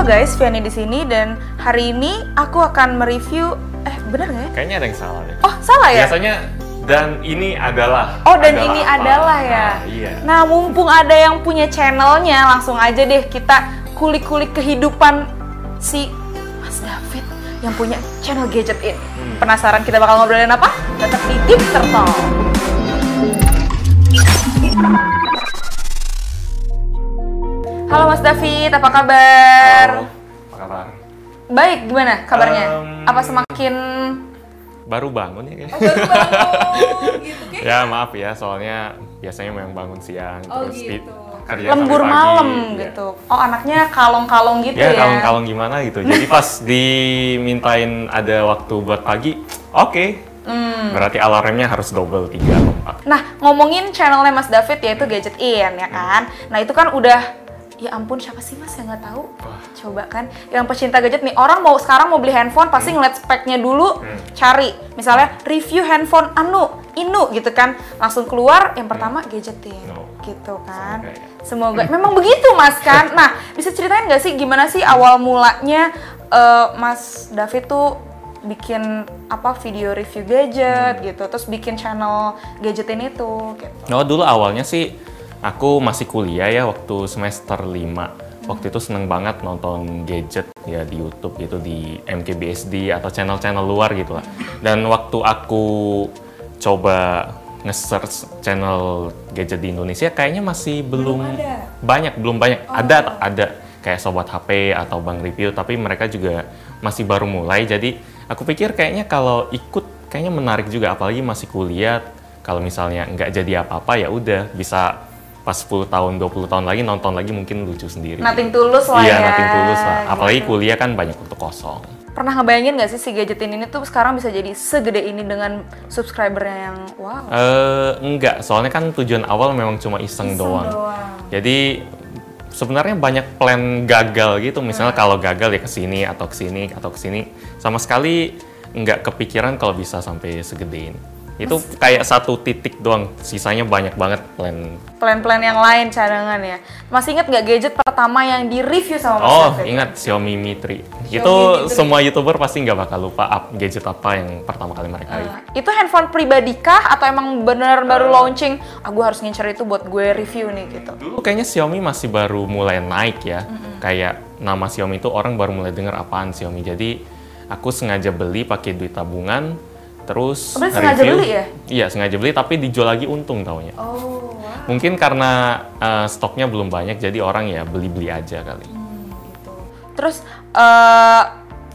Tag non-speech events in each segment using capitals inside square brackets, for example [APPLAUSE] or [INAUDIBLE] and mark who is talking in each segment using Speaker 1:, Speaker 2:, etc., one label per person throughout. Speaker 1: guys, Viani di sini dan hari ini aku akan mereview eh bener nggak ya?
Speaker 2: Kayaknya ada yang salah deh.
Speaker 1: Oh salah ya?
Speaker 2: Biasanya dan ini adalah.
Speaker 1: Oh dan
Speaker 2: adalah
Speaker 1: ini
Speaker 2: apa?
Speaker 1: adalah ya.
Speaker 2: Nah, iya.
Speaker 1: Nah mumpung ada yang punya channelnya, langsung aja deh kita kulik-kulik kehidupan si Mas David yang punya channel gadget ini.
Speaker 2: Hmm.
Speaker 1: Penasaran kita bakal ngobrolin apa? Tetap di Tipster Talk. Halo Mas David, apa kabar?
Speaker 2: Halo, apa kabar?
Speaker 1: Baik, gimana kabarnya?
Speaker 2: Em,
Speaker 1: apa semakin
Speaker 2: Baru bangun ya kayaknya.
Speaker 1: baru bangun gitu
Speaker 2: ya maaf ya, soalnya biasanya memang bangun siang
Speaker 3: Oh,
Speaker 2: terus di-
Speaker 3: gitu.
Speaker 2: kerja sampai
Speaker 1: lembur
Speaker 2: pagi,
Speaker 1: malam
Speaker 2: iya.
Speaker 1: gitu. Oh anaknya kalong-kalong gitu
Speaker 2: Ya
Speaker 1: ya.
Speaker 2: kalung-kalung gimana gitu.
Speaker 1: [LAUGHS]
Speaker 2: Jadi pas dimintain ada waktu buat pagi, oke.
Speaker 1: Hmm.
Speaker 2: Berarti alarmnya harus double tiga atau empat.
Speaker 1: Nah ngomongin channelnya Mas David yaitu Gadget In
Speaker 2: Iya.
Speaker 1: ya kan. Nah itu kan udah Ya ampun, siapa sih mas yang nggak tahu? Coba kan, yang pecinta gadget nih orang mau sekarang mau beli handphone pasti
Speaker 2: Hmm.
Speaker 1: ngeliat speknya dulu, cari misalnya review handphone Anu, Inu gitu kan, langsung keluar yang
Speaker 2: Hmm.
Speaker 1: pertama gadgetin,
Speaker 2: No.
Speaker 1: gitu kan.
Speaker 2: Semoga ya.
Speaker 1: Semoga memang begitu mas kan. Nah bisa ceritain nggak sih gimana sih awal mulanya eh, mas David tuh bikin apa video review
Speaker 2: Hmm.
Speaker 1: gadget gitu, terus bikin channel gadgetin itu. Gitu.
Speaker 2: No, Oh, dulu awalnya sih aku masih kuliah ya waktu semester 5. Waktu itu seneng banget nonton gadget ya di YouTube gitu di MKBSD atau channel-channel luar gitu lah. Dan waktu aku coba nge-search channel gadget di Indonesia kayaknya masih belum, banyak, belum banyak.
Speaker 1: Oh.
Speaker 2: Ada ada kayak sobat HP atau Bang Review tapi mereka juga masih baru mulai. Jadi aku pikir kayaknya kalau ikut kayaknya menarik juga apalagi masih kuliah kalau misalnya nggak jadi apa-apa ya udah bisa pas 10 tahun 20 tahun lagi nonton lagi mungkin lucu sendiri.
Speaker 1: Nothing tulus lah
Speaker 2: iya,
Speaker 1: ya.
Speaker 2: nothing tulus lah. Apalagi
Speaker 1: Gitu.
Speaker 2: kuliah kan banyak waktu kosong.
Speaker 1: Pernah ngebayangin gak sih si gadgetin ini tuh sekarang bisa jadi segede ini dengan subscribernya yang wow.
Speaker 2: Eh enggak, soalnya kan tujuan awal memang cuma iseng, Jadi sebenarnya banyak plan gagal gitu. Misalnya kalau gagal ya ke sini atau ke sini atau ke sini sama sekali nggak kepikiran kalau bisa sampai segede ini. Itu kayak satu titik doang, sisanya banyak banget plan.
Speaker 1: Plan-plan yang lain cadangan ya. Masih inget gak gadget pertama yang di-review sama Mas
Speaker 2: Oh,
Speaker 1: David?
Speaker 2: ingat Xiaomi Mi 3. Itu
Speaker 3: Mi 3.
Speaker 2: semua YouTuber pasti nggak bakal lupa up gadget apa yang pertama kali mereka review.
Speaker 1: Nah, Itu handphone pribadi kah atau emang bener baru
Speaker 2: Eh.
Speaker 1: launching? Ah, gue harus ngincer itu buat gue review nih gitu.
Speaker 2: Dulu kayaknya Xiaomi masih baru mulai naik ya. Kayak nama Xiaomi itu orang baru mulai dengar apaan Xiaomi. Jadi aku sengaja beli pakai duit tabungan
Speaker 1: Oh,
Speaker 2: terus
Speaker 1: berarti sengaja beli ya?
Speaker 2: Iya, sengaja beli tapi dijual lagi untung taunya.
Speaker 1: Oh,
Speaker 2: Mungkin karena eh, stoknya belum banyak jadi orang ya beli-beli aja kali.
Speaker 1: gitu. Terus eh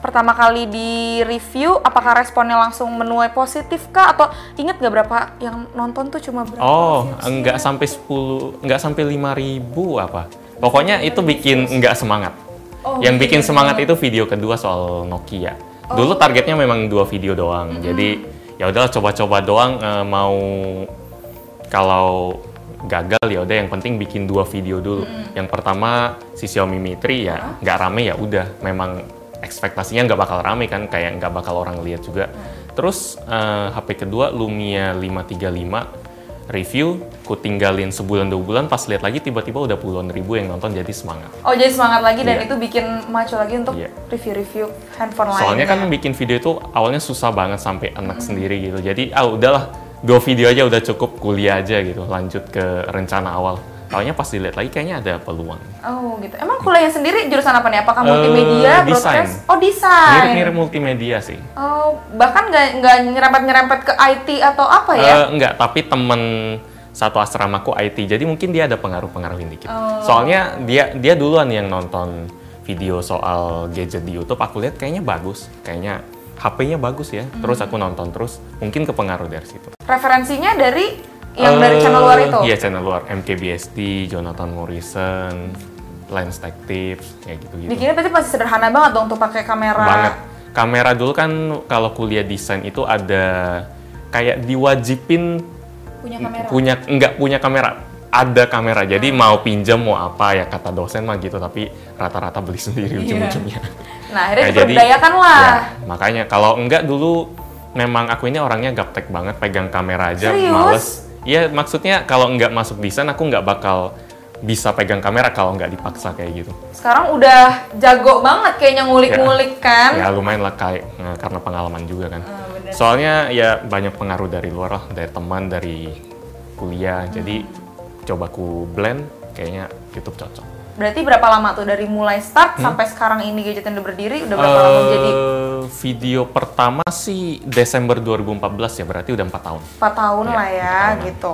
Speaker 1: pertama kali di review, apakah responnya langsung menuai positif kah? Atau inget gak berapa yang nonton tuh cuma berapa?
Speaker 2: Oh, enggak sampai 10, enggak sampai 5000 apa. Pokoknya itu bikin enggak semangat. Yang bikin semangat itu video kedua soal Nokia. Dulu targetnya memang dua video doang. Jadi ya udahlah coba-coba doang eh, mau kalau gagal ya udah yang penting bikin dua video dulu. Yang pertama si Xiaomi Mi 3 ya nggak rame ya udah memang ekspektasinya nggak bakal rame kan kayak nggak bakal orang lihat juga. Terus eh, HP kedua Lumia 535 review ku tinggalin sebulan dua bulan pas lihat lagi tiba-tiba udah puluhan ribu yang nonton jadi semangat.
Speaker 1: Oh jadi semangat lagi dan
Speaker 2: Iya.
Speaker 1: itu bikin macu lagi untuk
Speaker 2: Iya.
Speaker 1: review-review handphone lainnya.
Speaker 2: Soalnya kan bikin video itu awalnya susah banget sampai enak sendiri gitu. Jadi ah udahlah dua video aja udah cukup kuliah aja gitu. Lanjut ke rencana awal. Taunya pas dilihat lagi kayaknya ada peluang.
Speaker 1: Oh gitu. Emang kuliahnya sendiri jurusan apa nih? Apakah
Speaker 2: Eh,
Speaker 1: multimedia,
Speaker 2: desain.
Speaker 1: broadcast? Oh desain.
Speaker 2: Mirip-mirip multimedia sih.
Speaker 1: Oh bahkan nggak nggak nyerempet nyerempet ke IT atau apa ya?
Speaker 2: Eh, enggak, tapi temen satu asramaku IT. Jadi mungkin dia ada pengaruh-pengaruhin dikit. Soalnya dia dia duluan yang nonton video soal gadget di YouTube, aku lihat kayaknya bagus. Kayaknya HP-nya bagus ya. Terus aku nonton terus, mungkin kepengaruh dari situ.
Speaker 1: Referensinya dari yang dari channel luar itu.
Speaker 2: Iya, channel luar. MKBSD, Jonathan Morrison, Lens Tech Tips, kayak gitu-gitu.
Speaker 1: Bikinnya berarti pasti sederhana banget dong untuk pakai kamera.
Speaker 2: Banget. Kamera dulu kan kalau kuliah desain itu ada kayak diwajibin
Speaker 3: punya kamera.
Speaker 2: punya nggak punya kamera ada kamera jadi
Speaker 1: Hmm.
Speaker 2: mau pinjam mau apa ya kata dosen mah gitu tapi rata-rata beli
Speaker 1: Iya.
Speaker 2: sendiri ujung-ujungnya
Speaker 1: Nah akhirnya
Speaker 2: Nah,
Speaker 1: diperdayakan lah.
Speaker 2: ya, makanya kalau enggak dulu memang aku ini orangnya gaptek banget pegang kamera aja
Speaker 1: Serius?
Speaker 2: males. Iya maksudnya kalau enggak masuk desain aku enggak bakal bisa pegang kamera kalau nggak dipaksa kayak gitu.
Speaker 1: Sekarang udah jago banget kayaknya ngulik-ngulik kan.
Speaker 2: Ya lumayan lah kayak eh, karena pengalaman juga kan.
Speaker 1: Ah, bener.
Speaker 2: Soalnya ya banyak pengaruh dari luar lah, dari teman, dari kuliah. Jadi coba ku blend, kayaknya YouTube cocok.
Speaker 1: Berarti berapa lama tuh dari mulai start
Speaker 2: Hmm?
Speaker 1: sampai sekarang ini gadget yang udah berdiri udah berapa lama
Speaker 2: Eh,
Speaker 1: jadi
Speaker 2: video pertama sih Desember 2014 ya, berarti udah 4 tahun.
Speaker 1: 4 tahun
Speaker 2: Iya,
Speaker 1: lah ya
Speaker 2: empat Hmm? tahunan.
Speaker 1: gitu.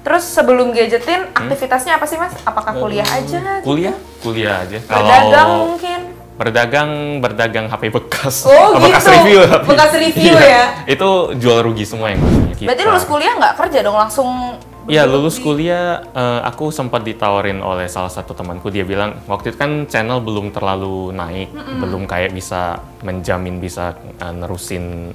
Speaker 1: Terus sebelum gadgetin aktivitasnya apa sih Mas? Apakah kuliah aja?
Speaker 2: Kuliah? Kuliah aja.
Speaker 1: Berdagang
Speaker 2: Kalau Iya.
Speaker 1: mungkin?
Speaker 2: berdagang berdagang HP bekas.
Speaker 1: Oh,
Speaker 2: Bekas
Speaker 1: gitu.
Speaker 2: review. tapi.
Speaker 1: Bekas review
Speaker 2: Iya.
Speaker 1: ya?
Speaker 2: Itu jual rugi semua yang punya kita.
Speaker 1: Berarti lulus kuliah nggak kerja dong langsung
Speaker 2: Iya lulus
Speaker 1: berdiri?
Speaker 2: kuliah eh, aku sempat ditawarin oleh salah satu temanku dia bilang waktu itu kan channel belum terlalu naik belum kayak bisa menjamin bisa eh, nerusin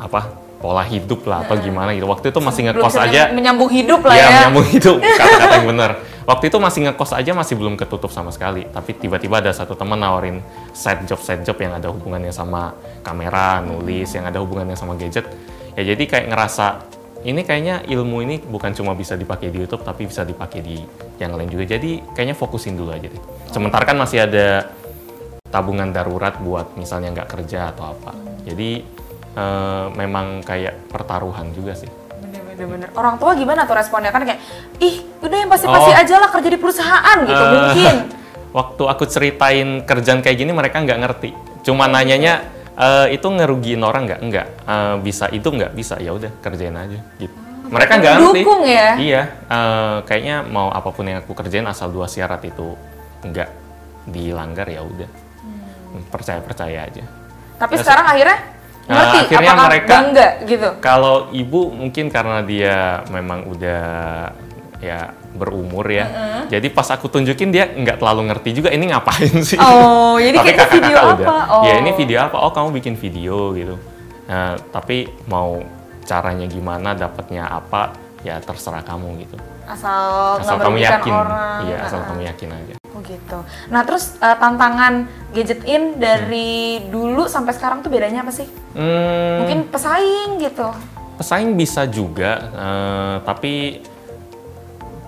Speaker 2: apa pola hidup lah atau gimana gitu waktu itu masih
Speaker 1: Belum
Speaker 2: ngekos
Speaker 1: bisa
Speaker 2: aja
Speaker 1: men- menyambung hidup lah
Speaker 2: Iya,
Speaker 1: ya.
Speaker 2: menyambung
Speaker 1: [LAUGHS]
Speaker 2: hidup kata-kata yang benar. Waktu itu masih ngekos aja masih belum ketutup sama sekali. Tapi tiba-tiba ada satu teman nawarin side job side job yang ada hubungannya sama kamera, nulis, yang ada hubungannya sama gadget. Ya jadi kayak ngerasa ini kayaknya ilmu ini bukan cuma bisa dipakai di YouTube tapi bisa dipakai di yang lain juga. Jadi kayaknya fokusin dulu aja deh. Sementara kan masih ada tabungan darurat buat misalnya nggak kerja atau apa. Jadi eh, memang kayak pertaruhan juga sih.
Speaker 1: Bener-bener. Orang tua gimana tuh responnya kan kayak ih udah yang pasti-pasti
Speaker 2: Oh.
Speaker 1: aja lah kerja di perusahaan gitu
Speaker 2: Eh,
Speaker 1: mungkin.
Speaker 2: [LAUGHS] Waktu aku ceritain kerjaan kayak gini mereka nggak ngerti. Cuma nanyanya "Eh, itu ngerugiin orang nggak? Nggak. Eh, bisa itu nggak bisa? Ya udah kerjain aja gitu. Mereka nggak ngerti.
Speaker 1: Dukung ya?
Speaker 2: Iya. eh, kayaknya mau apapun yang aku kerjain asal dua syarat itu nggak dilanggar ya udah.
Speaker 1: Hmm.
Speaker 2: Percaya percaya aja.
Speaker 1: Tapi
Speaker 2: Ya,
Speaker 1: sekarang akhirnya
Speaker 2: Nah,
Speaker 1: ngerti
Speaker 2: akhirnya
Speaker 1: apakah
Speaker 2: mereka-
Speaker 1: bangga gitu.
Speaker 2: Kalau ibu mungkin karena dia memang udah ya berumur ya. Jadi pas aku tunjukin dia nggak terlalu ngerti juga ini ngapain sih.
Speaker 1: Oh, jadi
Speaker 2: Tapi
Speaker 1: kayaknya
Speaker 2: kakak-kakak
Speaker 1: video apa?
Speaker 2: udah,
Speaker 1: Oh.
Speaker 2: Ya ini video apa? Oh kamu bikin video gitu. Nah, tapi mau caranya gimana, dapatnya apa, ya terserah kamu gitu.
Speaker 1: Asal, Oh, nggak
Speaker 2: Asal kamu
Speaker 1: merugikan
Speaker 2: yakin,
Speaker 1: orang.
Speaker 2: iya asal
Speaker 1: Nah,
Speaker 2: kamu yakin aja.
Speaker 1: Oh gitu. Nah terus eh, tantangan gadget in dari dulu sampai sekarang tuh bedanya apa sih?
Speaker 2: Hmm,
Speaker 1: Mungkin pesaing gitu.
Speaker 2: pesaing bisa juga, eh, tapi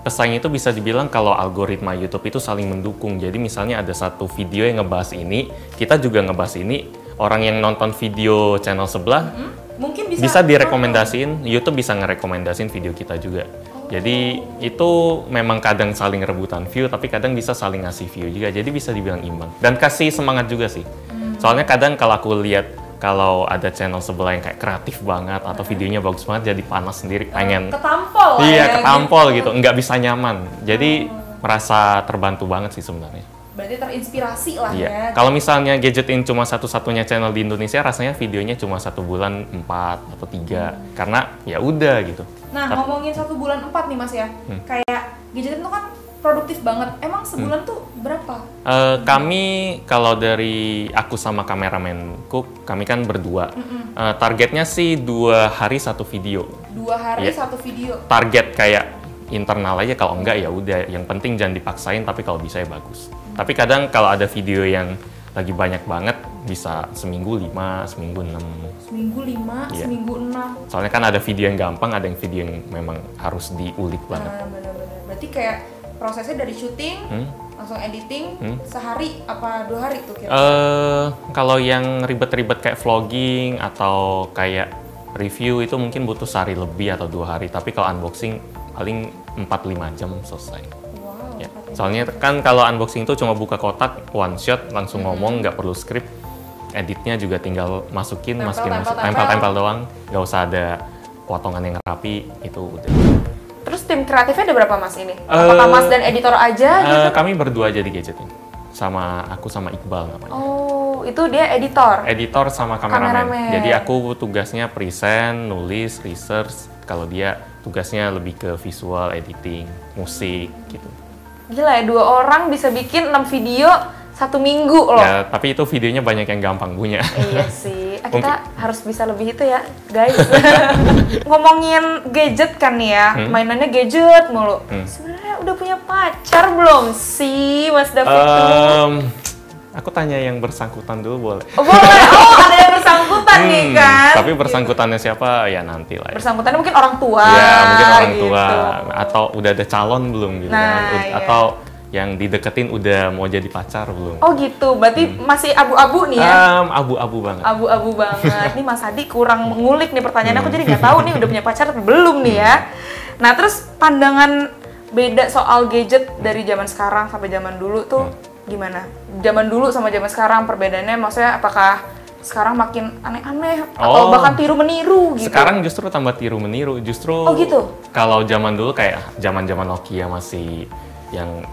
Speaker 2: pesaing itu bisa dibilang kalau algoritma YouTube itu saling mendukung. Jadi misalnya ada satu video yang ngebahas ini, kita juga ngebahas ini. Orang yang nonton video channel sebelah
Speaker 1: Mungkin bisa.
Speaker 2: bisa direkomendasiin YouTube bisa ngerekomendasiin video kita juga jadi itu memang kadang saling rebutan view tapi kadang bisa saling ngasih view juga jadi bisa dibilang imbang dan kasih semangat juga sih
Speaker 1: Hmm.
Speaker 2: soalnya kadang kalau aku lihat kalau ada channel sebelah yang kayak kreatif banget atau videonya bagus banget jadi panas sendiri pengen
Speaker 1: Hmm. Ketampol. lah ya, Hmm.
Speaker 2: iya ketampol gitu nggak bisa nyaman jadi merasa terbantu banget sih sebenarnya
Speaker 1: Berarti terinspirasi lah
Speaker 2: Iya.
Speaker 1: ya.
Speaker 2: Kalau misalnya gadgetin cuma satu-satunya channel di Indonesia, rasanya videonya cuma satu bulan empat atau tiga, karena ya udah gitu.
Speaker 3: Nah,
Speaker 2: Tapi-
Speaker 3: ngomongin satu bulan empat nih Mas ya.
Speaker 2: Hmm.
Speaker 3: Kayak gadgetin tuh kan produktif banget. Emang sebulan
Speaker 2: Hmm.
Speaker 3: tuh berapa?
Speaker 2: Eh, kami kalau dari aku sama kameramenku, kami kan berdua. Eh, targetnya sih dua hari satu video.
Speaker 3: Dua hari
Speaker 2: Iya.
Speaker 3: satu video.
Speaker 2: Target kayak internal aja kalau enggak ya udah. Yang penting jangan dipaksain, tapi kalau bisa ya bagus. Tapi kadang kalau ada video yang lagi banyak banget, bisa seminggu lima, seminggu enam.
Speaker 3: Seminggu lima,
Speaker 2: Iya.
Speaker 3: seminggu enam.
Speaker 2: Soalnya kan ada video yang gampang, ada yang video yang memang harus diulik banget.
Speaker 3: Nah, benar-benar. Berarti kayak prosesnya dari syuting,
Speaker 2: Hmm.
Speaker 3: langsung editing,
Speaker 2: Hmm.
Speaker 3: sehari apa dua hari tuh kira
Speaker 2: Eh, kalau yang ribet-ribet kayak vlogging atau kayak review itu mungkin butuh sehari lebih atau dua hari. Tapi kalau unboxing paling 4-5 jam selesai.
Speaker 3: Wow.
Speaker 2: Ya.
Speaker 3: cepet ya.
Speaker 2: Soalnya kan kalau unboxing itu cuma buka kotak, one shot, langsung ngomong, nggak perlu skrip. Editnya juga tinggal masukin,
Speaker 3: Tempel,
Speaker 2: masukin,
Speaker 3: tempel,
Speaker 2: masukin,
Speaker 3: tempel.
Speaker 2: tempel-tempel doang. Nggak usah ada potongan yang rapi, itu [LAUGHS] udah.
Speaker 1: Terus tim kreatifnya ada berapa mas ini? Apakah
Speaker 2: Eh,
Speaker 1: mas dan editor aja gitu?
Speaker 2: Eh, kami berdua jadi gadgetin sama aku sama Iqbal namanya
Speaker 1: Oh itu dia editor.
Speaker 2: editor sama kameramen.
Speaker 1: Kameramen.
Speaker 2: jadi aku tugasnya present nulis research kalau dia tugasnya lebih ke visual editing musik gitu
Speaker 1: Gila ya dua orang bisa bikin 6 video satu minggu loh.
Speaker 2: ya tapi itu videonya banyak yang gampang punya [LAUGHS]
Speaker 1: Iya sih, Eh,
Speaker 2: Mungkin.
Speaker 1: kita harus bisa lebih itu ya,
Speaker 2: [LAUGHS]
Speaker 1: guys. Ngomongin gadget kan nih ya,
Speaker 2: Hmm.
Speaker 1: mainannya gadget mulu.
Speaker 2: Eh.
Speaker 1: Sebenarnya udah punya pacar belum sih, Mas David? tuh?
Speaker 2: Em, Aku tanya yang bersangkutan dulu boleh.
Speaker 1: Oh, boleh. Oh, ada yang bersangkutan nih
Speaker 2: Hmm,
Speaker 1: kan.
Speaker 2: Tapi bersangkutannya siapa ya nanti lah ya.
Speaker 1: bersangkutannya mungkin orang tua.
Speaker 2: ya mungkin orang tua
Speaker 1: Ah, gitu.
Speaker 2: atau udah ada calon belum gitu kan
Speaker 1: Nah,
Speaker 2: Ud-
Speaker 1: iya.
Speaker 2: atau yang dideketin udah mau jadi pacar belum
Speaker 1: Oh gitu. Berarti
Speaker 2: Hmm.
Speaker 1: masih abu-abu nih ya.
Speaker 2: Em, abu-abu banget
Speaker 1: Abu-abu banget. Nih Mas Adi kurang mengulik nih pertanyaannya. Aku jadi nggak tahu nih udah punya pacar atau belum nih ya. Nah terus pandangan beda soal gadget dari zaman sekarang sampai zaman dulu tuh
Speaker 2: Hmm.
Speaker 1: gimana? Zaman dulu sama zaman sekarang perbedaannya maksudnya apakah sekarang makin aneh-aneh atau
Speaker 2: Oh.
Speaker 1: bahkan tiru meniru gitu?
Speaker 2: Sekarang justru tambah tiru meniru, justru
Speaker 1: Oh, gitu?
Speaker 2: kalau zaman dulu kayak zaman-zaman Nokia masih yang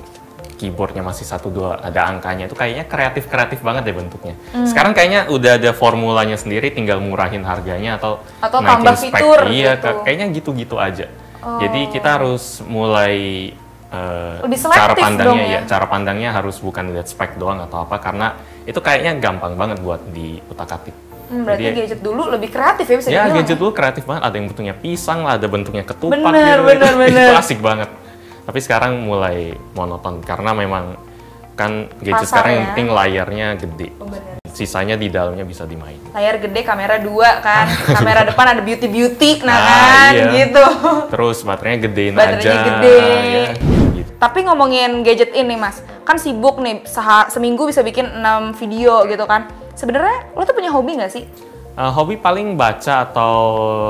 Speaker 2: keyboardnya masih satu dua ada angkanya itu kayaknya kreatif kreatif banget deh bentuknya.
Speaker 1: Hmm.
Speaker 2: Sekarang kayaknya udah ada formulanya sendiri, tinggal murahin harganya atau
Speaker 1: Atau
Speaker 2: naikin
Speaker 1: tambah
Speaker 2: spek.
Speaker 1: fitur
Speaker 2: Iya,
Speaker 1: gitu. Oh.
Speaker 2: kayaknya gitu-gitu aja. Jadi kita harus mulai eh,
Speaker 1: Lebih
Speaker 2: cara
Speaker 1: selektif
Speaker 2: pandangnya
Speaker 1: dong ya.
Speaker 2: cara pandangnya harus bukan lihat spek doang atau apa karena itu kayaknya gampang banget buat diutak-atik.
Speaker 1: Hmm, berarti
Speaker 2: Jadi-
Speaker 1: gadget dulu lebih kreatif ya bisa
Speaker 2: Ya
Speaker 1: dibilang.
Speaker 2: gadget dulu kreatif banget, ada yang bentuknya pisang lah, ada bentuknya ketupat
Speaker 1: Bener,
Speaker 2: gitu.
Speaker 1: bener,
Speaker 2: [LAUGHS] Itu
Speaker 1: bener.
Speaker 2: asik banget. Tapi sekarang mulai monoton karena memang kan gadget
Speaker 1: Pasar
Speaker 2: sekarang yang
Speaker 1: ya.
Speaker 2: penting layarnya gede.
Speaker 3: Oh, bener.
Speaker 2: Sisanya di dalamnya bisa dimainin.
Speaker 1: Layar gede, kamera dua kan.
Speaker 2: [LAUGHS]
Speaker 1: kamera depan ada beauty beauty, nah
Speaker 2: Ah,
Speaker 1: kan
Speaker 2: iya.
Speaker 1: gitu.
Speaker 2: Terus baterainya gedein
Speaker 1: Baterainya
Speaker 2: aja.
Speaker 1: gede.
Speaker 2: ya, gitu.
Speaker 1: Tapi ngomongin gadget ini mas, kan sibuk nih seha- seminggu bisa bikin 6 video gitu kan. Sebenarnya lo tuh punya hobi nggak sih?
Speaker 2: Eh, hobi paling baca atau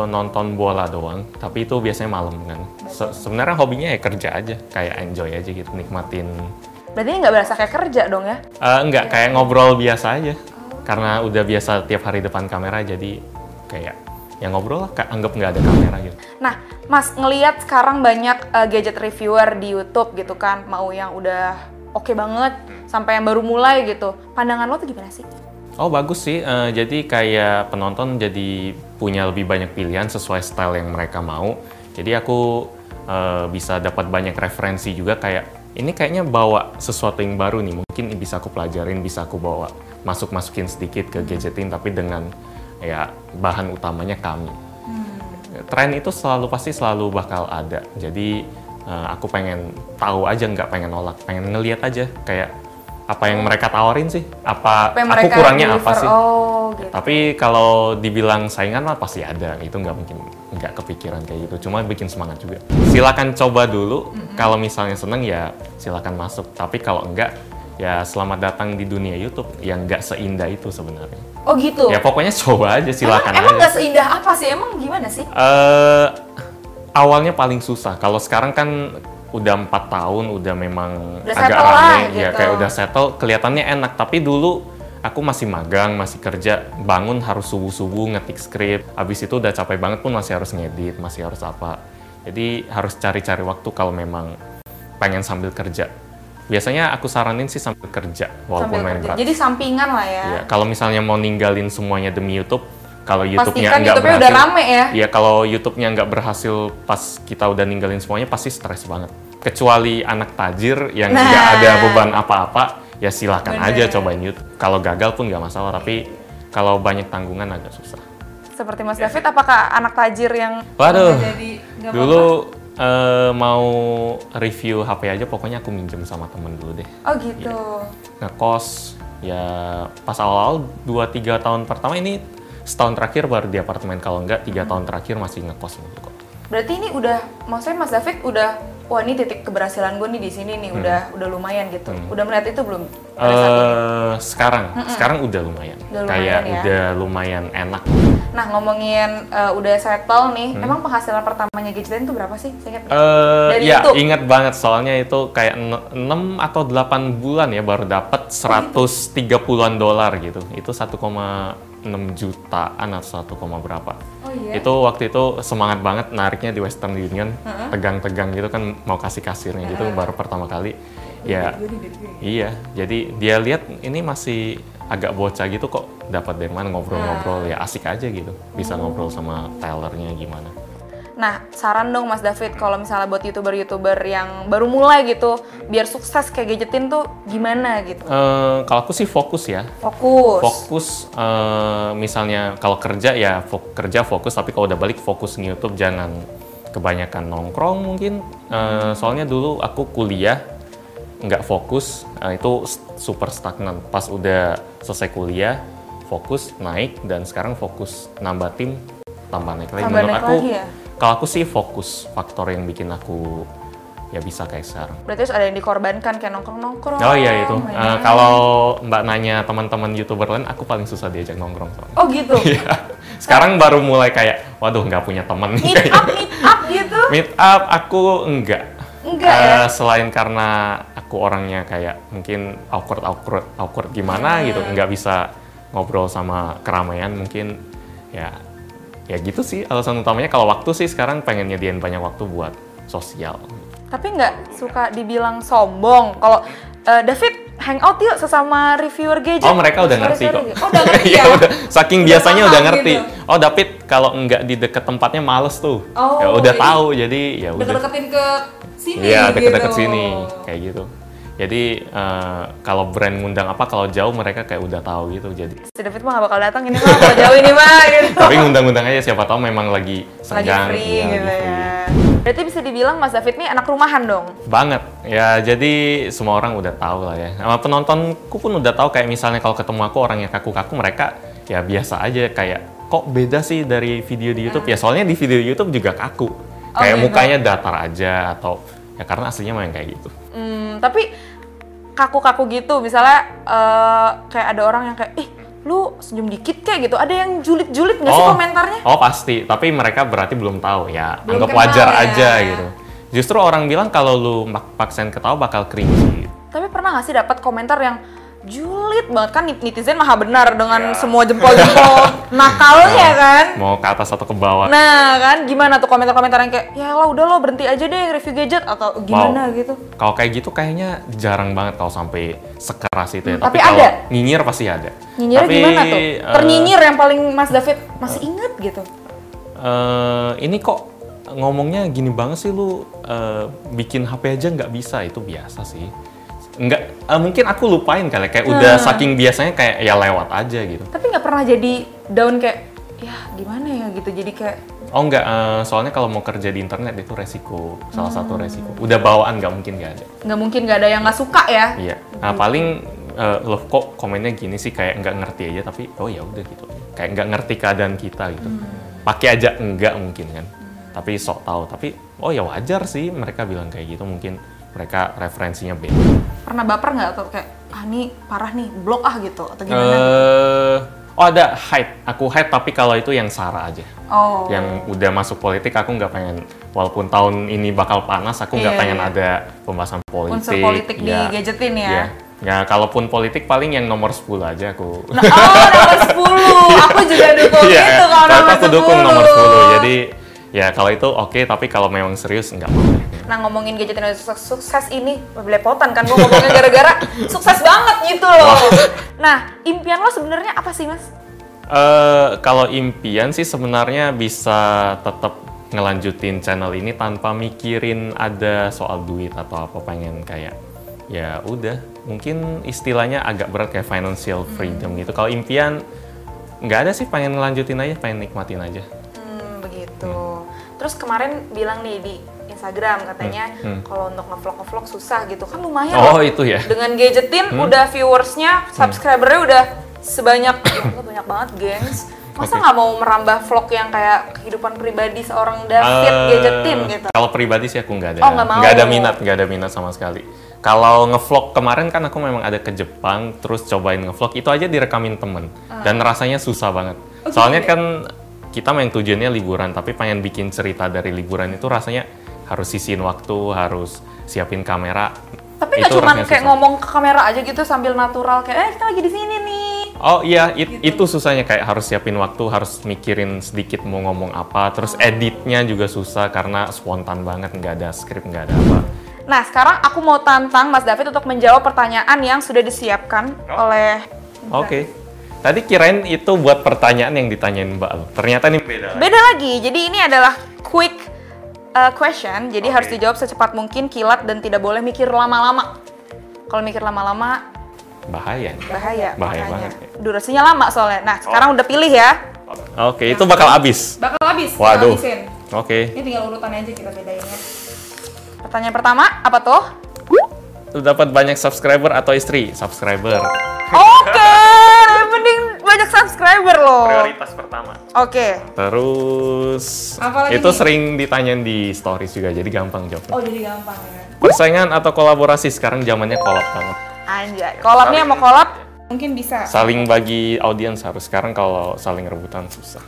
Speaker 2: nonton bola doang, tapi itu biasanya malam kan. Se- Sebenarnya hobinya ya kerja aja, kayak enjoy aja gitu, nikmatin
Speaker 1: Berarti ini nggak berasa kayak kerja dong ya?
Speaker 2: Eh, enggak, kayak ngobrol biasa aja. Karena udah biasa tiap hari depan kamera, jadi kayak ya ngobrol lah, ka- anggap nggak ada kamera gitu.
Speaker 1: Nah, Mas ngelihat sekarang banyak uh, gadget reviewer di YouTube gitu kan, mau yang udah oke banget
Speaker 2: Hmm.
Speaker 1: sampai yang baru mulai gitu. Pandangan lo tuh gimana sih?
Speaker 2: Oh bagus sih, Eh, jadi kayak penonton jadi punya lebih banyak pilihan sesuai style yang mereka mau. Jadi aku eh, bisa dapat banyak referensi juga kayak ini kayaknya bawa sesuatu yang baru nih, mungkin bisa aku pelajarin, bisa aku bawa masuk-masukin sedikit ke gadgetin tapi dengan ya bahan utamanya kami. tren itu selalu pasti selalu bakal ada. Jadi eh, aku pengen tahu aja nggak pengen nolak, pengen ngelihat aja kayak apa yang mereka tawarin sih, apa,
Speaker 1: Apa yang
Speaker 2: aku
Speaker 1: mereka
Speaker 2: kurangnya apa
Speaker 1: deliver?
Speaker 2: sih.
Speaker 1: Oh, gitu.
Speaker 2: Tapi kalau dibilang saingan mah pasti ada, itu nggak mungkin nggak kepikiran kayak gitu. Cuma bikin semangat juga. Silakan coba dulu. Kalau misalnya seneng ya silakan masuk. Tapi kalau enggak ya selamat datang di dunia YouTube yang nggak seindah itu sebenarnya.
Speaker 1: Oh gitu.
Speaker 2: Ya pokoknya coba aja silakan
Speaker 1: emang, emang
Speaker 2: aja.
Speaker 1: nggak seindah apa sih? Emang gimana sih?
Speaker 2: eh awalnya paling susah. Kalau sekarang kan udah empat tahun, udah memang
Speaker 1: Udah
Speaker 2: agak
Speaker 1: settle lah,
Speaker 2: rame, ya
Speaker 1: gitu.
Speaker 2: kayak udah settle. Kelihatannya enak, tapi dulu aku masih magang, masih kerja, bangun harus subuh subuh ngetik skrip. Habis itu udah capek banget pun masih harus ngedit, masih harus apa. Jadi harus cari-cari waktu kalau memang pengen sambil kerja. Biasanya aku saranin sih sambil kerja, walaupun
Speaker 1: Sambil
Speaker 2: main
Speaker 1: kerja.
Speaker 2: berat.
Speaker 1: Jadi sampingan lah ya.
Speaker 2: Ya, kalau misalnya mau ninggalin semuanya demi YouTube, kalau YouTube-nya
Speaker 1: Pastikan
Speaker 2: nggak
Speaker 1: YouTube-nya udah
Speaker 2: berhasil,
Speaker 1: rame ya.
Speaker 2: Iya, kalau YouTube-nya nggak berhasil pas kita udah ninggalin semuanya pasti stres banget. Kecuali anak tajir yang
Speaker 1: Nah.
Speaker 2: nggak ada beban apa-apa, ya silakan
Speaker 1: Bener.
Speaker 2: aja cobain YouTube. Kalau gagal pun nggak masalah, tapi kalau banyak tanggungan agak susah.
Speaker 1: Seperti Mas
Speaker 2: Iya
Speaker 1: David, apakah anak tajir yang
Speaker 2: Waduh,
Speaker 3: Jadi nggak
Speaker 2: dulu eh, mau review HP aja, pokoknya aku minjem sama temen dulu deh.
Speaker 1: oh gitu?
Speaker 2: Iya. ngekos ya pas awal-awal 2-3 tahun pertama ini setahun terakhir baru di apartemen kalau enggak tiga tahun terakhir masih ngekos mulu kok
Speaker 1: Berarti ini udah maksudnya Mas David udah wah ini titik keberhasilan gue nih di sini nih udah udah lumayan gitu. Udah melihat itu belum? pada saat ini?
Speaker 2: Hmm. Eh, sekarang sekarang udah lumayan
Speaker 1: Udah
Speaker 2: kayak
Speaker 1: lumayan ya.
Speaker 2: udah lumayan enak
Speaker 1: Nah, ngomongin eh, udah settle nih,
Speaker 2: Hmm.
Speaker 1: emang penghasilan pertamanya gadgetin itu berapa sih? Saya ingat.
Speaker 2: eh
Speaker 1: Dari
Speaker 2: ya
Speaker 1: YouTube?
Speaker 2: ingat banget soalnya itu kayak 6 atau 8 bulan ya
Speaker 1: Oh,
Speaker 2: baru
Speaker 1: gitu?
Speaker 2: dapat 130-an dolar gitu itu 1,6 jutaan atau 1, koma berapa
Speaker 3: Oh iya.
Speaker 2: itu waktu itu semangat banget nariknya di Western Union tegang-tegang gitu kan mau kasih kasirnya gitu baru pertama kali ya
Speaker 3: Gue nih, duit gue.
Speaker 2: iya jadi dia lihat ini masih agak bocah gitu kok dapat dari mana ngobrol-ngobrol ya asik aja gitu bisa ngobrol sama tellernya gimana
Speaker 1: Nah, saran dong Mas David kalau misalnya buat YouTuber-YouTuber yang baru mulai gitu, biar sukses kayak gadgetin tuh gimana gitu.
Speaker 2: Eh, kalau aku sih fokus ya
Speaker 1: Fokus.
Speaker 2: fokus eh, misalnya kalau kerja ya fok- kerja fokus tapi kalau udah balik fokus di YouTube jangan kebanyakan nongkrong mungkin Eh, soalnya dulu aku kuliah nggak fokus nah itu s- super stagnan pas udah selesai kuliah fokus naik dan sekarang fokus nambah tim tambah naik lagi
Speaker 1: Tambah
Speaker 2: menurut
Speaker 1: naik
Speaker 2: aku
Speaker 1: lagi ya?
Speaker 2: kalau aku sih fokus faktor yang bikin aku ya bisa kayak sekarang
Speaker 1: Berarti harus ada yang dikorbankan kayak nongkrong-nongkrong.
Speaker 2: oh iya itu Eh,
Speaker 1: main-main.
Speaker 2: kalau mbak nanya teman-teman youtuber lain aku paling susah diajak nongkrong soalnya.
Speaker 1: Oh
Speaker 2: [LAUGHS]
Speaker 1: gitu.
Speaker 2: Iya. sekarang baru mulai kayak waduh nggak punya temen
Speaker 1: meet up, meet up gitu.
Speaker 2: [LAUGHS] meet up aku enggak
Speaker 1: Enggak ya?
Speaker 2: Eh, selain karena aku orangnya kayak mungkin awkward awkward awkward gimana
Speaker 1: Hmm.
Speaker 2: gitu nggak bisa ngobrol sama keramaian mungkin ya ya gitu sih alasan utamanya kalau waktu sih sekarang pengen nyediain banyak waktu buat sosial
Speaker 1: Tapi nggak suka dibilang sombong. Kalau eh, David hangout yuk sesama reviewer gadget.
Speaker 2: oh mereka udah ngerti
Speaker 1: Sorry, sorry.
Speaker 2: kok
Speaker 1: Oh
Speaker 2: [LAUGHS]
Speaker 1: udah ngerti
Speaker 2: Iya,
Speaker 1: ya.
Speaker 2: udah. saking
Speaker 3: Udah
Speaker 2: biasanya
Speaker 3: paham
Speaker 2: udah ngerti
Speaker 3: gitu.
Speaker 2: oh David kalau nggak di deket tempatnya males tuh
Speaker 3: Oh,
Speaker 2: ya
Speaker 1: iya.
Speaker 2: udah
Speaker 3: jadi
Speaker 2: tahu jadi ya udah
Speaker 3: Deket-deketin ke sini
Speaker 2: Iya,
Speaker 1: [LAUGHS]
Speaker 2: deket-deket
Speaker 3: gitu.
Speaker 2: sini kayak gitu. Jadi eh, kalau brand ngundang apa kalau jauh mereka kayak udah tahu gitu. Jadi
Speaker 1: [LAUGHS] Si David mah gak bakal datang ini mah kalau jauh ini mah
Speaker 2: [LAUGHS]
Speaker 1: gitu.
Speaker 2: tapi ngundang-ngundang aja siapa tahu memang lagi
Speaker 1: Lagi
Speaker 2: senggang
Speaker 1: free
Speaker 2: iya,
Speaker 1: gitu
Speaker 2: lagi free.
Speaker 1: ya. Berarti bisa dibilang Mas David nih anak rumahan dong.
Speaker 2: Banget. Ya jadi semua orang udah tahu lah ya. Sama penontonku pun udah tahu kayak misalnya kalau ketemu aku orangnya kaku-kaku mereka ya biasa aja kayak kok beda sih dari video di YouTube ya
Speaker 1: Hmm.
Speaker 2: soalnya di video YouTube juga kaku. Kayak
Speaker 1: gitu.
Speaker 2: mukanya datar aja atau ya karena aslinya memang kayak gitu.
Speaker 1: Hmm, tapi kaku-kaku gitu, misalnya eh, kayak ada orang yang kayak, ih lu senyum dikit kayak gitu, ada yang julid-julid nggak sih komentarnya?
Speaker 2: Oh pasti, tapi mereka berarti belum tahu ya.
Speaker 3: Belum
Speaker 2: anggap
Speaker 3: kenal
Speaker 2: wajar
Speaker 3: ya.
Speaker 2: aja gitu. Justru orang bilang kalau lu mak- paksain ketawa bakal cringe.
Speaker 1: Tapi pernah nggak sih dapat komentar yang julid banget kan netizen maha benar
Speaker 2: Iya.
Speaker 1: dengan semua
Speaker 2: [LAUGHS]
Speaker 1: jempol-jempol nakalnya kan?
Speaker 2: Mau ke atas atau ke bawah.
Speaker 1: Nah kan gimana tuh komentar-komentar yang kayak ya lo udah lo berhenti aja deh review gadget atau gimana
Speaker 2: Wow.
Speaker 1: gitu?
Speaker 2: Kalau kayak gitu kayaknya jarang banget kalau sampai sekeras itu ya.
Speaker 1: Hmm, tapi
Speaker 2: kalau
Speaker 1: ada?
Speaker 2: Nyinyir pasti ada.
Speaker 1: Nyinyirnya
Speaker 2: tapi,
Speaker 1: gimana tuh?
Speaker 2: eh,
Speaker 1: Ternyinyir yang paling Mas David masih inget gitu?
Speaker 2: eh, ini kok ngomongnya gini banget sih lu eh, bikin HP aja nggak bisa itu biasa sih. Nggak, eh, mungkin aku lupain kali ya. kayak udah
Speaker 1: Hmm.
Speaker 2: saking biasanya kayak ya lewat aja gitu.
Speaker 1: Tapi nggak pernah jadi down kayak ya gimana ya gitu jadi kayak
Speaker 2: Oh enggak, eh, soalnya kalau mau kerja di internet itu resiko, salah satu resiko. Udah bawaan nggak mungkin nggak ada.
Speaker 1: nggak mungkin nggak ada yang nggak suka ya
Speaker 2: Iya. Nah paling eh, loh kok komennya gini sih kayak nggak ngerti aja tapi oh ya udah gitu. Kayak nggak ngerti keadaan kita gitu. Pakai aja enggak mungkin kan. Tapi sok tahu. Tapi oh ya wajar sih mereka bilang kayak gitu mungkin mereka referensinya beda.
Speaker 1: pernah baper nggak atau kayak ah nih parah nih blok ah gitu atau gimana
Speaker 2: eh oh ada hype. Aku hype tapi kalau itu yang Sarah aja.
Speaker 1: oh
Speaker 2: yang udah masuk politik aku nggak pengen walaupun tahun ini bakal panas aku nggak
Speaker 1: Iya,
Speaker 2: pengen
Speaker 1: iya.
Speaker 2: ada pembahasan politik
Speaker 1: unsur politik
Speaker 2: ya.
Speaker 1: di gadgetin ya
Speaker 2: Iya. ya kalaupun politik paling yang nomor 10 aja aku
Speaker 1: Nah, oh nomor 10 aku juga dukung
Speaker 2: [LAUGHS] Iya,
Speaker 1: itu Oh, gitu, kalau
Speaker 2: tapi
Speaker 1: nomor
Speaker 2: aku dukung nomor
Speaker 1: 10
Speaker 2: 10 jadi ya kalau itu oke tapi kalau memang serius nggak mau
Speaker 1: nah ngomongin gadget Indonesia sukses, sukses ini belepotan kan gue ngomongnya gara-gara sukses banget gitu loh nah impian lo sebenarnya apa sih mas
Speaker 2: Eh, kalau impian sih sebenarnya bisa tetap ngelanjutin channel ini tanpa mikirin ada soal duit atau apa pengen kayak ya udah mungkin istilahnya agak berat kayak financial freedom gitu kalau impian nggak ada sih pengen ngelanjutin aja pengen nikmatin aja
Speaker 1: Hmm, begitu. Terus kemarin bilang nih di Instagram katanya kalau untuk ngevlog ngevlog susah gitu kan lumayan.
Speaker 2: Hmm,
Speaker 1: loh.
Speaker 2: oh itu ya
Speaker 1: Dengan gadgetin
Speaker 2: Hmm?
Speaker 1: udah viewersnya, subscribernya udah sebanyak [COUGHS] Wah, banyak banget, gengs. Masa
Speaker 2: Oke.
Speaker 1: nggak mau merambah vlog yang kayak kehidupan pribadi seorang David
Speaker 2: Eh,
Speaker 1: gadgetin gitu?
Speaker 2: Kalau pribadi sih aku nggak ada,
Speaker 1: Oh, nggak mau.
Speaker 2: ada minat, nggak ada minat sama sekali. Kalau ngevlog kemarin kan aku memang ada ke Jepang, terus cobain ngevlog itu aja direkamin temen,
Speaker 1: Ah.
Speaker 2: dan rasanya susah banget.
Speaker 1: Oh, gitu?
Speaker 2: Soalnya kan kita main tujuannya liburan, tapi pengen bikin cerita dari liburan itu rasanya harus sisihin waktu, harus siapin kamera.
Speaker 1: Tapi nggak
Speaker 2: Itu
Speaker 1: cuma
Speaker 2: rasanya
Speaker 1: kayak
Speaker 2: susah.
Speaker 1: ngomong ke kamera aja gitu sambil natural kayak eh kita lagi di sini nih.
Speaker 2: Oh iya, it-
Speaker 3: Gitu.
Speaker 2: itu susahnya kayak harus siapin waktu, harus mikirin sedikit mau ngomong apa, terus
Speaker 3: Oh.
Speaker 2: editnya juga susah karena spontan banget, nggak ada skrip, nggak ada apa.
Speaker 1: Nah, sekarang aku mau tantang Mas David untuk menjawab pertanyaan yang sudah disiapkan
Speaker 2: Oh.
Speaker 1: oleh
Speaker 2: Oke. Tadi kirain itu buat pertanyaan yang ditanyain Mbak. Al. Ternyata ini beda. lagi.
Speaker 1: Beda lagi. Jadi ini adalah quick uh, question. Jadi
Speaker 2: Oke.
Speaker 1: harus dijawab secepat mungkin, kilat dan tidak boleh mikir lama-lama. Kalau mikir lama-lama
Speaker 2: Bahaya. nih.
Speaker 1: bahaya.
Speaker 2: Bahaya
Speaker 1: makanya.
Speaker 2: banget. Oh.
Speaker 1: Durasinya lama soalnya. Nah, sekarang udah pilih ya.
Speaker 2: Oke, itu bakal habis.
Speaker 3: Bakal habis. bakal
Speaker 2: Waduh.
Speaker 3: habisin.
Speaker 2: Oke.
Speaker 3: ya. Ini tinggal urutannya aja kita bedainnya.
Speaker 2: [LAUGHS]
Speaker 1: Pertanyaan pertama apa tuh?
Speaker 2: lu dapat banyak subscriber atau istri subscriber
Speaker 1: Oke, lebih penting banyak subscriber loh.
Speaker 2: pertama
Speaker 1: Oke.
Speaker 2: terus
Speaker 3: Apalagi
Speaker 2: itu
Speaker 3: nih?
Speaker 2: sering ditanyain di stories juga jadi gampang jawab
Speaker 3: Oh jadi gampang ya.
Speaker 2: persaingan atau kolaborasi sekarang zamannya kolab banget
Speaker 1: Anjay. Kolabnya mau kolab
Speaker 3: Mungkin bisa.
Speaker 2: saling bagi audiens harus sekarang kalau saling rebutan susah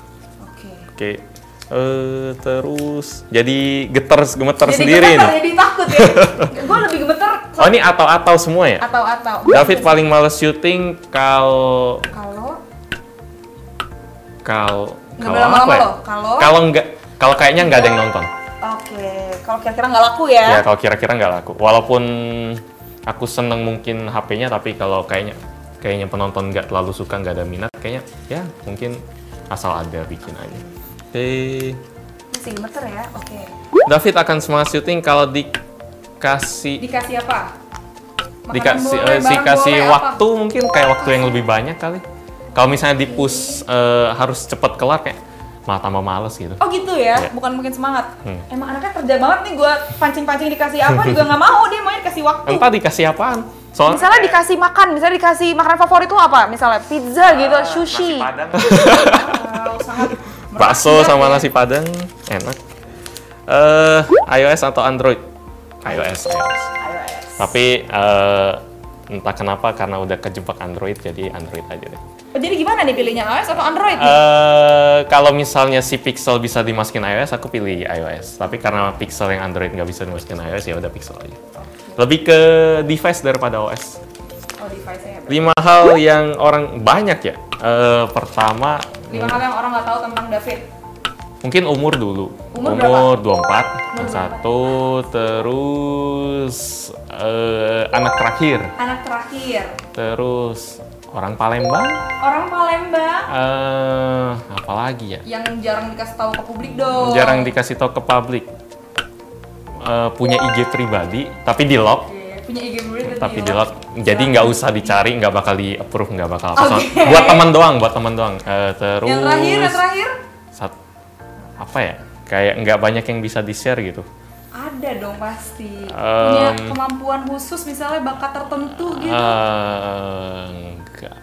Speaker 3: Oke.
Speaker 2: Oke. eh terus jadi geter gemeter
Speaker 3: Jadi
Speaker 2: sendiri
Speaker 3: gemeter,
Speaker 2: nih.
Speaker 3: jadi takut
Speaker 2: [LAUGHS]
Speaker 3: ya. gue lebih gemeter
Speaker 2: Oh ini atau-atau semua ya?
Speaker 3: atau atau.
Speaker 2: David paling males syuting kalau
Speaker 3: Kalau
Speaker 2: kalau
Speaker 3: Nggak boleh lama-lama loh, kalau-
Speaker 2: ya? kalau nggak kalau kayaknya nggak ada yang nonton.
Speaker 3: oke, kalau kira-kira nggak laku ya.
Speaker 2: Ya kalau kira-kira nggak laku. Walaupun aku seneng mungkin HP-nya tapi kalau kayaknya kayaknya penonton nggak terlalu suka nggak ada minat kayaknya ya mungkin asal ada bikin aja. Oke.
Speaker 3: Masih gemeter ya. Oke.
Speaker 2: David akan semangat syuting kalau dikasih
Speaker 3: Dikasih apa? Makanan
Speaker 2: dikasih
Speaker 3: boleh,
Speaker 2: eh,
Speaker 3: barang
Speaker 2: dikasih
Speaker 3: boleh, apa?
Speaker 2: waktu mungkin kayak waktu yang lebih banyak kali kalau misalnya di push eh, harus cepet kelar kayak malah tambah males gitu
Speaker 3: Oh gitu ya,
Speaker 2: Iya.
Speaker 3: bukan mungkin semangat.
Speaker 2: Hmm.
Speaker 3: Emang anaknya kerja banget nih gue pancing-pancing dikasih apa juga nggak mau dia maunya dikasih waktu.
Speaker 2: Eh, entah dikasih apaan soalnya
Speaker 1: misalnya dikasih makan, misalnya dikasih makanan favorit lo apa? Misalnya pizza gitu, sushi.
Speaker 3: Ah, Wow, sangat
Speaker 2: [LAUGHS] bakso
Speaker 3: merakyat
Speaker 2: sama
Speaker 3: ya.
Speaker 2: nasi padang enak eh iOS atau Android iOS iOS
Speaker 3: iOS.
Speaker 2: tapi eh, entah kenapa karena udah kejebak Android jadi Android aja deh
Speaker 3: Oh, jadi gimana nih pilihnya iOS atau Android? nih?
Speaker 2: eh kalau misalnya si Pixel bisa dimasukin iOS, aku pilih iOS. Tapi karena Pixel yang Android nggak bisa dimasukin iOS, ya udah Pixel aja. Lebih ke device daripada OS.
Speaker 3: Oh device-nya. ya.
Speaker 2: Lima hal yang orang banyak ya. Eh, pertama,
Speaker 3: Lima hal yang orang nggak tahu tentang David.
Speaker 2: mungkin umur dulu.
Speaker 3: Umur
Speaker 2: umur 24, yang satu, terus eh, anak terakhir,
Speaker 3: Anak terakhir.
Speaker 2: terus orang Palembang,
Speaker 3: Orang Palembang
Speaker 2: eh apa lagi ya?
Speaker 3: yang jarang dikasih tahu ke publik dong.
Speaker 2: jarang dikasih tahu ke publik Eh, punya IG pribadi tapi di lock
Speaker 3: Oke, Punya IG murid
Speaker 2: tapi di lock jadi nggak usah dicari nggak bakal di approve nggak bakal apa
Speaker 3: Oke.
Speaker 2: Soal- buat teman doang buat teman doang Eh, terus
Speaker 3: Yang terakhir, yang terakhir
Speaker 2: sat- apa ya kayak nggak banyak yang bisa di share gitu
Speaker 3: ada dong pasti.
Speaker 2: Em.
Speaker 3: Punya kemampuan khusus misalnya bakat tertentu gitu.
Speaker 2: Eh, nggak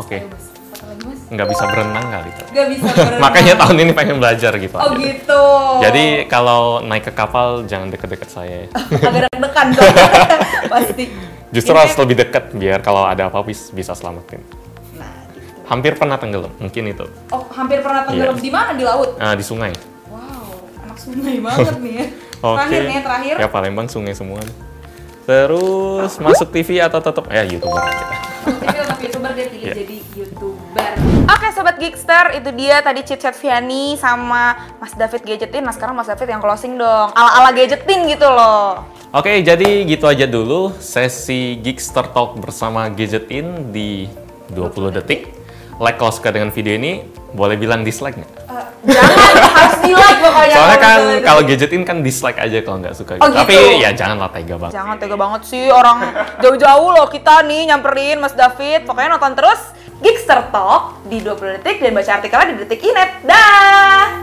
Speaker 2: oke
Speaker 3: Ayo,
Speaker 2: Ah.
Speaker 3: Mas. Satu lagi, Mas.
Speaker 2: nggak bisa berenang kali itu
Speaker 3: Gak bisa berenang.
Speaker 2: makanya tahun ini pengen belajar gitu
Speaker 3: Oh
Speaker 2: aja.
Speaker 3: gitu.
Speaker 2: jadi kalau naik ke kapal jangan deket-deket saya
Speaker 3: agak deg-degan
Speaker 2: [LAUGHS]
Speaker 3: dong. pasti.
Speaker 2: Justru
Speaker 3: Ini-
Speaker 2: harus lebih dekat biar kalau ada apa bis- bisa selamatin.
Speaker 3: Nah, gitu.
Speaker 2: Hampir pernah tenggelam, mungkin itu
Speaker 3: Oh, hampir pernah tenggelam
Speaker 2: Iya.
Speaker 3: di mana? Di laut.
Speaker 2: Ah, di sungai.
Speaker 3: Wow, anak sungai banget nih ya.
Speaker 2: [LAUGHS] Oke.
Speaker 3: Terakhir nih, yang terakhir. Ah.
Speaker 2: Ya Palembang sungai semua. nih. Terus masuk TV atau tetap ya youtuber aja.
Speaker 3: Jadi untuk youtuber dia pilih
Speaker 2: Iya.
Speaker 3: jadi youtuber.
Speaker 1: Oke sobat Geekster, itu dia tadi chit chat Viani sama Mas David gadgetin. Nah sekarang Mas David yang closing dong, ala-ala gadgetin gitu loh.
Speaker 2: Oke, jadi gitu aja dulu sesi Geekster Talk bersama Gadgetin di 20 detik. Like kalau suka dengan video ini, boleh bilang dislike nggak?
Speaker 1: Jangan harus di
Speaker 3: Oh,
Speaker 1: like
Speaker 3: ya,
Speaker 1: pokoknya.
Speaker 2: Soalnya kan
Speaker 1: misalnya itu.
Speaker 2: kalau Gadgetin kan dislike aja kalau nggak suka.
Speaker 1: Oh,
Speaker 2: gitu. Tapi
Speaker 1: gitu.
Speaker 2: ya janganlah tega banget.
Speaker 1: Jangan tega banget sih orang jauh-jauh loh kita nih nyamperin Mas David. Pokoknya nonton terus Geekster Talk di 20 detik dan baca artikelnya di detik inet. Dah.